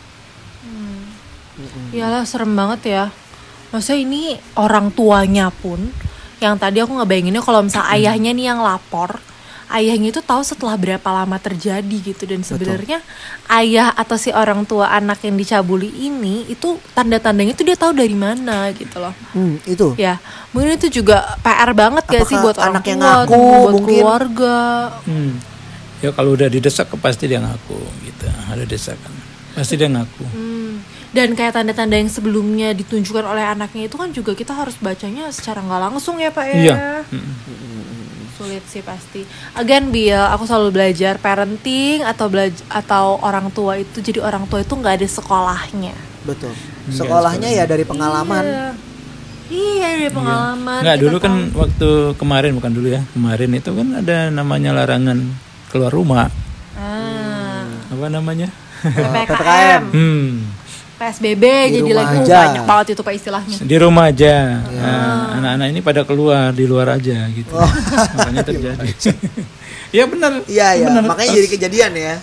Speaker 3: Iyalah serem banget ya. Maksudnya ini orang tuanya pun yang tadi aku ngebayanginnya kalau misal
Speaker 2: Hmm.
Speaker 3: ayahnya nih yang lapor, ayahnya itu tahu setelah berapa lama terjadi gitu dan sebenarnya ayah atau si orang tua anak yang dicabuli ini itu tanda-tandanya itu dia tahu dari mana gitu loh.
Speaker 2: Hmm, itu.
Speaker 3: Ya, mungkin itu juga PR banget gak sih
Speaker 2: Apakah
Speaker 3: buat orang
Speaker 2: anak yang
Speaker 3: tua,
Speaker 2: ngaku
Speaker 3: buat
Speaker 2: mungkin?
Speaker 3: keluarga.
Speaker 4: Hmm. Ya kalau udah didesak pasti dia ngaku gitu. Ada desakan. Pasti dia ngaku.
Speaker 3: Hmm. Dan kayak tanda-tanda yang sebelumnya ditunjukkan oleh anaknya itu kan juga kita harus bacanya secara nggak langsung ya Pak ya.
Speaker 4: Iya.
Speaker 2: Hmm.
Speaker 4: Mm-mm.
Speaker 3: Sulit sih pasti. Again Bill, aku selalu belajar parenting atau belaj- atau orang tua itu jadi orang tua itu nggak ada sekolahnya.
Speaker 2: Betul.
Speaker 4: Iya,
Speaker 2: Sekolahnya ya dari
Speaker 3: Iya.
Speaker 2: pengalaman.
Speaker 3: Iya, dari pengalaman.
Speaker 4: Enggak
Speaker 3: kita
Speaker 4: dulu kan
Speaker 3: tahu.
Speaker 4: waktu kemarin bukan dulu ya kemarin itu kan ada namanya larangan keluar rumah
Speaker 3: Ah,
Speaker 4: apa namanya
Speaker 2: Eh,
Speaker 3: PPKM.
Speaker 2: PPKM.
Speaker 4: hmm
Speaker 3: PSBB
Speaker 2: Di
Speaker 3: jadi
Speaker 2: rumah
Speaker 3: lagi
Speaker 2: aja.
Speaker 3: banyak banget itu Pak istilahnya.
Speaker 4: di rumah
Speaker 2: Ya.
Speaker 4: aja Nah, anak-anak ini pada keluar di luar aja gitu makanya terjadi ya benar
Speaker 2: Oh. Iya, iya.
Speaker 4: benar.
Speaker 2: Makanya jadi kejadian ya.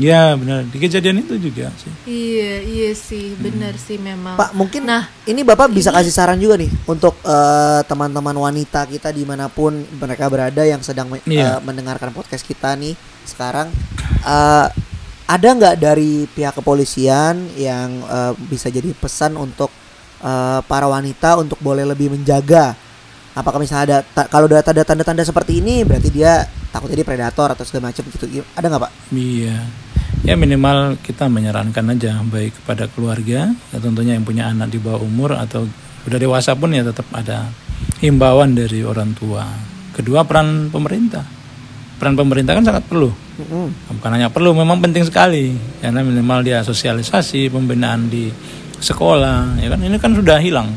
Speaker 4: ya benar di kejadian itu juga sih
Speaker 3: Iya, iya sih, benar sih memang.
Speaker 2: Pak, mungkin
Speaker 3: Nah.
Speaker 2: ini Bapak bisa kasih saran juga nih untuk eh, teman-teman wanita kita dimanapun mereka berada yang sedang me- eh,
Speaker 4: Iya.
Speaker 2: mendengarkan podcast kita nih sekarang. Eh, ada nggak dari pihak kepolisian yang eh, bisa jadi pesan untuk eh, para wanita untuk boleh lebih menjaga? Apakah misalnya ada ta- kalau ada tanda-tanda seperti ini berarti dia takutnya dia predator atau segala macam gitu? Ada nggak Pak?
Speaker 4: Iya. Ya minimal kita menyarankan aja baik kepada keluarga, ya tentunya yang punya anak di bawah umur atau udah dewasa pun ya tetap ada himbauan dari orang tua. Kedua peran pemerintah. Peran pemerintah kan sangat perlu.
Speaker 2: Mm-mm.
Speaker 4: Bukan hanya perlu, memang penting sekali. Karena minimal dia sosialisasi, pembinaan di sekolah, ya kan ini kan sudah hilang,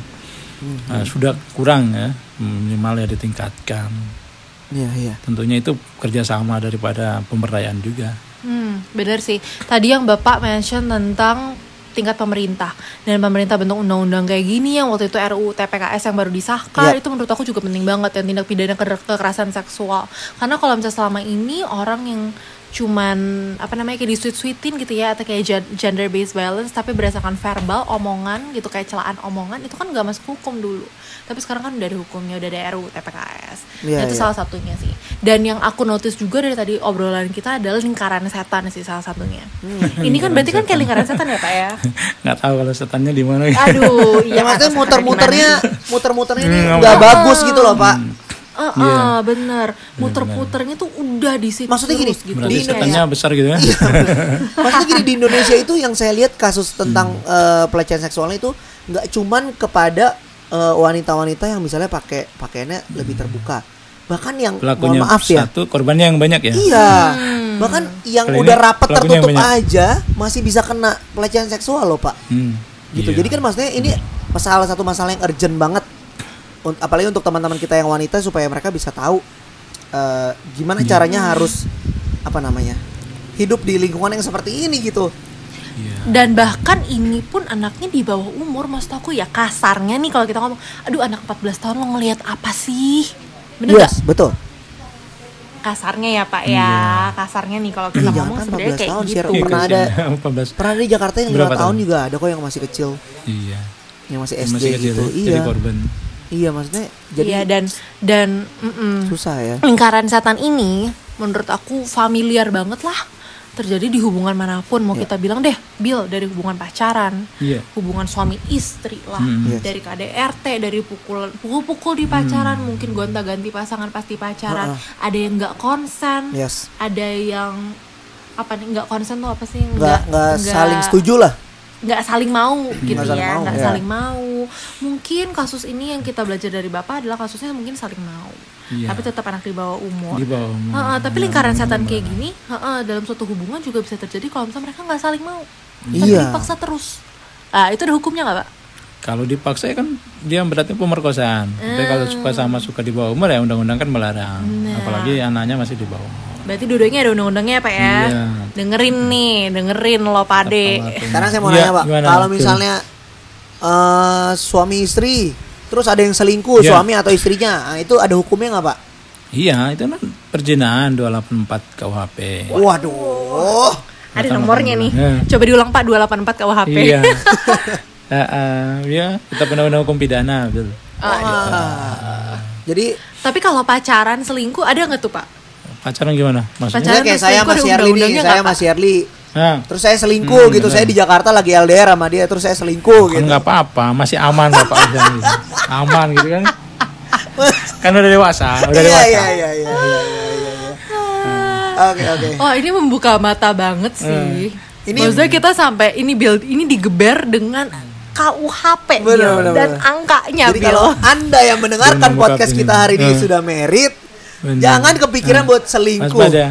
Speaker 4: Nah, sudah kurang ya, minimal ya ditingkatkan.
Speaker 2: Iya, iya.
Speaker 4: Tentunya itu kerjasama daripada pemberdayaan juga.
Speaker 3: Hmm, benar sih. Tadi yang Bapak mention tentang tingkat pemerintah dan pemerintah bentuk undang-undang kayak gini yang waktu itu RUU TPKS yang baru disahkan
Speaker 2: Iya.
Speaker 3: itu menurut aku juga penting banget yang tindak pidana ke- kekerasan seksual karena kalau misalnya selama ini orang yang cuman apa namanya kayak disuit-suitin gitu ya atau kayak gender based violence tapi berdasarkan verbal omongan gitu kayak celaan omongan itu kan nggak masuk hukum dulu tapi sekarang kan udah ada hukumnya udah ada RUU TPKS
Speaker 2: Iya,
Speaker 3: Nah, itu
Speaker 2: iya.
Speaker 3: salah satunya sih dan yang aku notice juga dari tadi obrolan kita adalah lingkaran setan sih salah satunya
Speaker 2: Hmm.
Speaker 3: ini kan berarti kan kayak lingkaran setan ya pak ya
Speaker 4: Nggak tahu kalau setannya di mana.
Speaker 3: aduh iya
Speaker 2: Ya,
Speaker 3: nggak
Speaker 2: maksudnya
Speaker 3: tahu
Speaker 2: muter-muternya,
Speaker 3: setannya gimana sih.
Speaker 2: muter-muternya ini
Speaker 4: Hmm,
Speaker 2: nggak
Speaker 4: nggak
Speaker 2: bagus gitu loh, Pak.
Speaker 3: Ah, ah,
Speaker 4: Iya.
Speaker 3: bener muter-puternya tuh udah di situ
Speaker 2: Maksudnya gini,
Speaker 3: terus Iya,
Speaker 4: Berarti
Speaker 2: Di Iya.
Speaker 4: setannya besar gitu ya.
Speaker 2: Maksudnya gini di Indonesia itu yang saya lihat kasus tentang eh,
Speaker 4: Hmm.
Speaker 2: pelecehan seksualnya itu nggak cuman kepada eh, wanita-wanita yang misalnya pakai pakaiannya lebih terbuka. Bahkan yang
Speaker 4: Pelakunya
Speaker 2: mohon maaf ya.
Speaker 4: satu, korbannya yang banyak ya.
Speaker 2: Iya. Bahkan yang
Speaker 4: Kali ini
Speaker 2: udah rapat
Speaker 4: pelakunya yang
Speaker 2: tertutup
Speaker 4: banyak.
Speaker 2: aja masih bisa kena pelecehan seksual loh, Pak.
Speaker 4: Hmm,
Speaker 2: Gitu.
Speaker 4: iya.
Speaker 2: Jadi kan maksudnya ini masalah satu masalah yang urgent banget. Un- Apalagi untuk teman-teman kita yang wanita supaya mereka bisa tahu eh, gimana
Speaker 4: Iya.
Speaker 2: caranya harus apa namanya? hidup di lingkungan yang seperti ini gitu.
Speaker 4: Iya.
Speaker 3: dan bahkan ini pun anaknya di bawah umur maksud aku ya kasarnya nih kalau kita ngomong aduh anak 14 tahun lo ngelihat apa sih bener nggak?
Speaker 2: Yes, Iya, betul.
Speaker 3: kasarnya ya pak ya kasarnya nih kalau
Speaker 2: Iya,
Speaker 3: kita
Speaker 2: jangan
Speaker 3: ngomong
Speaker 2: kan
Speaker 3: sebenarnya
Speaker 2: 14
Speaker 3: kayak
Speaker 2: tahun,
Speaker 3: gitu
Speaker 2: share
Speaker 4: Iya,
Speaker 2: pernah ada-
Speaker 4: kasihan. 14.
Speaker 2: Pernah di Jakarta yang lima
Speaker 4: Berapa
Speaker 2: tahun
Speaker 4: tahun?
Speaker 2: juga ada kok yang masih kecil,
Speaker 4: Iya.
Speaker 2: yang masih
Speaker 4: Yang
Speaker 2: SD
Speaker 4: masih kecil
Speaker 2: gitu.
Speaker 4: ya,
Speaker 2: Iya.
Speaker 4: jadi korban.
Speaker 2: Iya, maksudnya jadi
Speaker 3: Iya, dan dan mm-mm.
Speaker 2: susah ya.
Speaker 3: lingkaran setan ini menurut aku familiar banget lah terjadi di hubungan manapun mau
Speaker 2: Iya.
Speaker 3: kita bilang deh Bill dari hubungan pacaran
Speaker 4: Iya.
Speaker 3: hubungan suami istri lah
Speaker 4: Mm,
Speaker 2: Hmm. yes.
Speaker 3: dari KDRT dari pukul pukul-pukul di pacaran
Speaker 2: Hmm.
Speaker 3: mungkin gonta-ganti pasangan pasti pacaran
Speaker 2: Ah,
Speaker 3: ada yang nggak konsen
Speaker 2: Yes.
Speaker 3: ada yang apa nih nggak konsen tuh apa sih
Speaker 2: Nggak nggak
Speaker 3: nggak-
Speaker 2: saling setuju lah.
Speaker 3: nggak saling mau gitu
Speaker 2: Nggak saling
Speaker 3: ya
Speaker 2: mau,
Speaker 3: nggak
Speaker 2: ya.
Speaker 3: saling mau mungkin kasus ini yang kita belajar dari bapak adalah kasusnya mungkin saling mau
Speaker 4: Iya.
Speaker 3: tapi tetap anak di bawah umur
Speaker 4: Di bawah umur.
Speaker 3: Ha-ha, tapi lingkaran
Speaker 4: Iya,
Speaker 3: setan
Speaker 4: benar.
Speaker 3: kayak gini ha-ha, dalam suatu hubungan juga bisa terjadi kalau misalnya mereka nggak saling mau tapi
Speaker 2: Iya.
Speaker 3: dipaksa terus ah itu ada hukumnya nggak pak
Speaker 4: Kalau dipaksa ya kan dia berarti pemerkosaan. Tapi
Speaker 2: Ah.
Speaker 4: kalau suka sama suka di bawah umur ya undang-undang kan melarang. Apalagi anaknya masih di bawah. umur.
Speaker 3: berarti dua-duanya ada undang-undangnya ya pak ya
Speaker 4: Iya.
Speaker 3: dengerin nih dengerin lo pade
Speaker 4: Apalagi-
Speaker 2: Sekarang saya mau
Speaker 4: Iya,
Speaker 2: nanya Pak,
Speaker 4: gimana?
Speaker 2: kalau
Speaker 4: Betul.
Speaker 2: misalnya eh suami istri terus ada yang selingkuh
Speaker 4: Iya.
Speaker 2: suami atau istrinya, ah, itu ada hukumnya nggak Pak?
Speaker 4: Iya, itu kan perjinaan 284 KUHP.
Speaker 2: Waduh.
Speaker 3: ada nomornya nih
Speaker 4: Iya.
Speaker 3: coba diulang pak 284 KUHP
Speaker 4: Iya. Eh, eh, Iya, kita undang-undang hukum pidana, betul.
Speaker 2: Ah. Wah. Jadi
Speaker 3: tapi kalau pacaran selingkuh ada nggak tuh pak
Speaker 4: Pacaran gimana? Maksudnya?
Speaker 3: Pacaran
Speaker 2: misalnya kayak
Speaker 3: dan
Speaker 2: saya
Speaker 3: selingkuh
Speaker 2: masih
Speaker 3: ada
Speaker 2: Yerli nih,
Speaker 3: undang-undangnya
Speaker 2: saya
Speaker 3: nggak, Pak?
Speaker 2: masih Yerli.
Speaker 4: Nah,
Speaker 2: Terus saya selingkuh gitu, saya di Jakarta lagi LDR sama dia, terus saya selingkuh
Speaker 4: kan
Speaker 2: gitu.
Speaker 4: nggak apa-apa, masih aman bapak udah gitu. aman gitu kan? Kan udah dewasa, udah
Speaker 2: Iya
Speaker 4: dewasa.
Speaker 2: iya iya iya iya iya, iya. Oke oke.
Speaker 3: Oh ini membuka mata banget sih.
Speaker 2: Eh. Ini-
Speaker 3: Ini maksudnya kita sampai ini build ini digeber dengan KUHP
Speaker 2: Bener,
Speaker 3: Bill,
Speaker 2: bener,
Speaker 3: dan
Speaker 2: bener.
Speaker 3: angkanya
Speaker 2: Jadi
Speaker 3: Ya, Bill.
Speaker 2: kalau Anda yang mendengarkan
Speaker 4: Bener,
Speaker 2: podcast
Speaker 4: bokap
Speaker 2: kita
Speaker 4: ini.
Speaker 2: hari ini
Speaker 4: Eh.
Speaker 2: sudah merit,
Speaker 4: Bener.
Speaker 2: jangan kepikiran
Speaker 4: Eh.
Speaker 2: buat
Speaker 4: Mas
Speaker 2: selingkuh.
Speaker 4: Pada.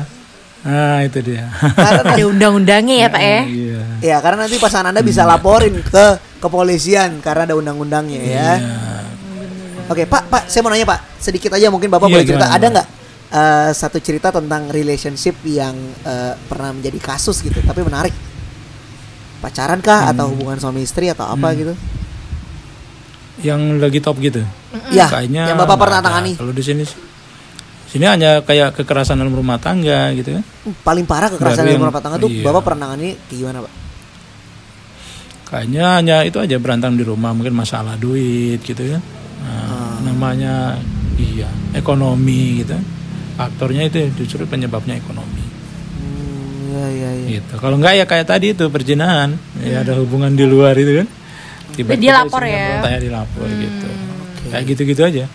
Speaker 4: Nah, itu dia.
Speaker 2: Karena
Speaker 3: ada undang-undangnya ya Pak ya.
Speaker 4: Iya.
Speaker 2: ya karena nanti pasangan Anda
Speaker 4: Hmm.
Speaker 2: bisa laporin ke kepolisian karena ada undang-undangnya ya. Oke, Pak, Pak, saya mau nanya Pak, sedikit aja mungkin Bapak
Speaker 4: Iya,
Speaker 2: boleh cerita
Speaker 4: gimana,
Speaker 2: ada
Speaker 4: Pak?
Speaker 2: nggak eh, satu cerita tentang relationship yang eh, pernah menjadi kasus gitu, tapi menarik. Pacaran
Speaker 4: Hmm.
Speaker 2: kah atau hubungan suami istri atau apa gitu?
Speaker 4: Yang lagi top gitu.
Speaker 2: Iya,
Speaker 4: Kayaknya
Speaker 2: yang Bapak
Speaker 4: nggak
Speaker 2: pernah
Speaker 4: ada.
Speaker 2: tangani.
Speaker 4: Kalau di sini sini hanya kayak kekerasan dalam rumah tangga gitu kan.
Speaker 2: Uh, Paling parah kekerasan
Speaker 4: Baru
Speaker 2: dalam
Speaker 4: yang-
Speaker 2: rumah tangga tuh
Speaker 4: iya.
Speaker 2: Bapak pernah nangani gimana, Pak?
Speaker 4: Kayaknya hanya itu aja berantem di rumah mungkin masalah duit gitu ya.
Speaker 2: Ah.
Speaker 4: Nah, namanya iya, ekonomi gitu. Faktornya itu justru penyebabnya ekonomi.
Speaker 2: Hmm, iya iya iya.
Speaker 4: Gitu. Kalau enggak ya kayak tadi itu perjinahan, ya ada hubungan di luar itu kan. Tiba-tiba
Speaker 3: Dia lapor
Speaker 4: isinya
Speaker 3: ya?
Speaker 4: berontak, dilapor gitu. Kayak gitu-gitu aja.
Speaker 2: Iya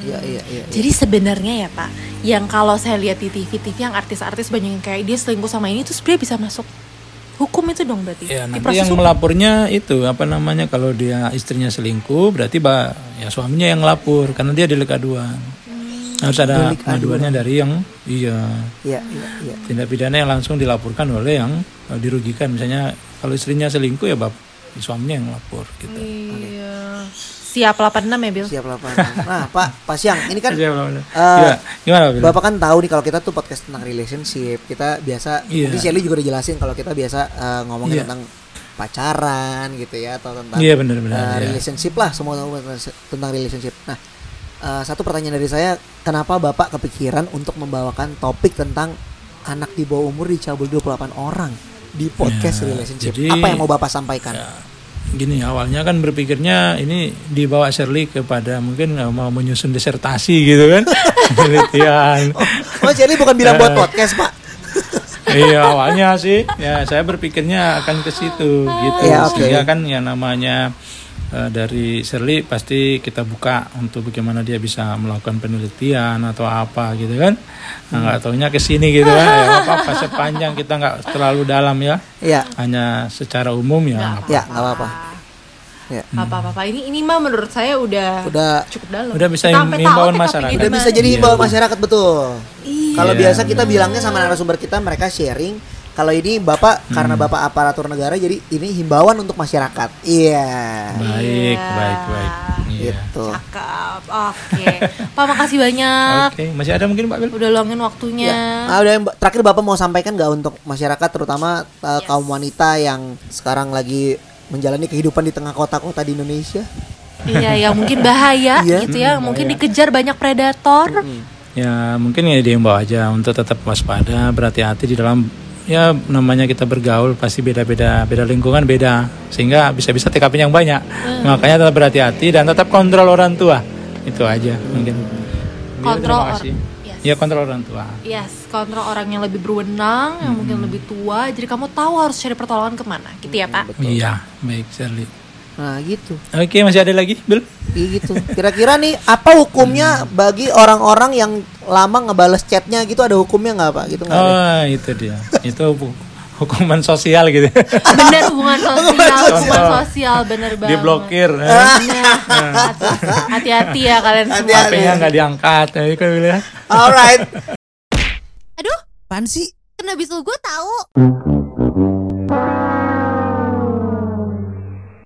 Speaker 2: iya iya. iya.
Speaker 3: Jadi sebenarnya ya Pak, yang kalau saya lihat di TV-TV yang artis-artis banyak yang kayak dia selingkuh sama ini tuh sebenarnya bisa masuk hukum itu dong berarti.
Speaker 4: Ya,
Speaker 3: Di
Speaker 4: nanti
Speaker 3: proses
Speaker 4: yang melapornya itu apa namanya kalau dia istrinya selingkuh berarti ba, ya suaminya yang lapor karena dia delik aduan.
Speaker 3: Hmm.
Speaker 4: harus ada
Speaker 2: Delik aduan.
Speaker 4: pengaduannya dari yang iya
Speaker 2: Iya, iya, iya.
Speaker 4: tindak pidana yang langsung dilaporkan oleh yang eh, dirugikan misalnya kalau istrinya selingkuh ya bab suaminya yang lapor gitu
Speaker 3: Iya. Siap 86 ya, Bil?
Speaker 2: Siap lapangan. Nah, Pak, Pak Siang, ini kan eh,
Speaker 4: Iya, gimana Bil?
Speaker 2: Bapak kan tahu nih kalau kita tuh podcast tentang relationship, kita biasa
Speaker 4: Iya.
Speaker 2: mungkin Shelly juga udah jelasin kalau kita biasa eh, ngomongin
Speaker 4: Iya.
Speaker 2: tentang pacaran gitu ya atau tentang
Speaker 4: Iya, benar-benar,
Speaker 2: eh,
Speaker 4: iya.
Speaker 2: relationship lah semua tentang relationship. Nah, eh, satu pertanyaan dari saya, kenapa Bapak kepikiran untuk membawakan topik tentang anak di bawah umur dicabul 28 orang di podcast
Speaker 4: Ya,
Speaker 2: relationship?
Speaker 4: jadi-
Speaker 2: Apa yang mau Bapak sampaikan?
Speaker 4: Ya, gini awalnya kan berpikirnya ini dibawa Shirley kepada mungkin eh, mau menyusun disertasi gitu kan penelitian
Speaker 2: Oh, Shelly bukan bilang buat podcast, Pak.
Speaker 4: iya awalnya sih ya saya berpikirnya akan ke situ gitu
Speaker 2: Iya, oke.
Speaker 4: sehingga kan yang namanya eh, dari Shirley pasti kita buka untuk bagaimana dia bisa melakukan penelitian atau apa gitu kan Nah, nggak taunya ke sini gitu kan ya apa apa sepanjang kita nggak terlalu dalam ya
Speaker 2: Iya,
Speaker 4: hanya secara umum ya
Speaker 2: ya, nggak apa-apa. Ya.
Speaker 3: Apa-apa. Pak. Ini ini mah menurut saya udah,
Speaker 2: Udah
Speaker 3: cukup dalam.
Speaker 4: udah bisa
Speaker 3: Kita sampai tahu
Speaker 4: himbauan
Speaker 3: TKP
Speaker 4: masyarakat
Speaker 2: Udah
Speaker 3: gimana.
Speaker 2: bisa jadi himbauan masyarakat betul.
Speaker 3: Iya.
Speaker 2: Kalau
Speaker 4: Iya,
Speaker 2: biasa kita bilangnya sama narasumber kita mereka sharing. Kalau ini bapak karena bapak aparatur negara jadi ini himbauan untuk masyarakat. Iya.
Speaker 3: Iya.
Speaker 4: baik baik baik Iya.
Speaker 2: Gitu.
Speaker 3: Cakep. Oke. Pak, makasih banyak.
Speaker 4: oke masih ada mungkin Pak Bil
Speaker 3: Udah luangin waktunya.
Speaker 2: Ya. Ah, udah yang- terakhir bapak mau sampaikan nggak untuk masyarakat terutama uh, kaum wanita yang sekarang lagi menjalani kehidupan di tengah kota-kota di Indonesia?
Speaker 3: Iya, yang mungkin bahaya
Speaker 2: Iya.
Speaker 3: gitu ya. Mungkin dikejar banyak predator.
Speaker 4: Ya mungkin ya diimbau aja untuk tetap waspada, berhati-hati di dalam ya namanya kita bergaul pasti beda-beda, beda lingkungan beda sehingga bisa-bisa TKP yang banyak. Makanya tetap berhati-hati dan tetap kontrol orang tua. Itu aja mungkin. Iya,
Speaker 3: Kontrol
Speaker 4: terima
Speaker 3: or-
Speaker 4: kasih.
Speaker 3: Yes.
Speaker 4: Ya kontrol orang tua.
Speaker 3: Yes, kontrol orang yang lebih berwenang, yang mungkin lebih tua. Jadi kamu tahu harus cari pertolongan kemana, gitu ya Pak?
Speaker 4: Iya, baik Shirley.
Speaker 2: Nah gitu.
Speaker 4: Oke, masih ada lagi, Bil?
Speaker 2: Iya gitu. Kira-kira nih apa hukumnya bagi orang-orang yang lama ngebales chatnya gitu ada hukumnya nggak pak? Gitu nggak? ada?
Speaker 4: Oh, itu dia. itu hu- hukuman sosial gitu.
Speaker 3: Bener hubungan sosial, hubungan
Speaker 4: sosial.
Speaker 3: sosial, bener banget.
Speaker 4: Diblokir.
Speaker 3: Bener. Hati-hati ya kalian semua.
Speaker 2: Hati-hati.
Speaker 4: HP-nya nggak diangkat. Ya, itu kan, Bil, ya.
Speaker 2: Alright.
Speaker 1: Aduh, kan
Speaker 2: Apaan sih?
Speaker 1: kena bisul gue tahu.
Speaker 5: Mm-hmm.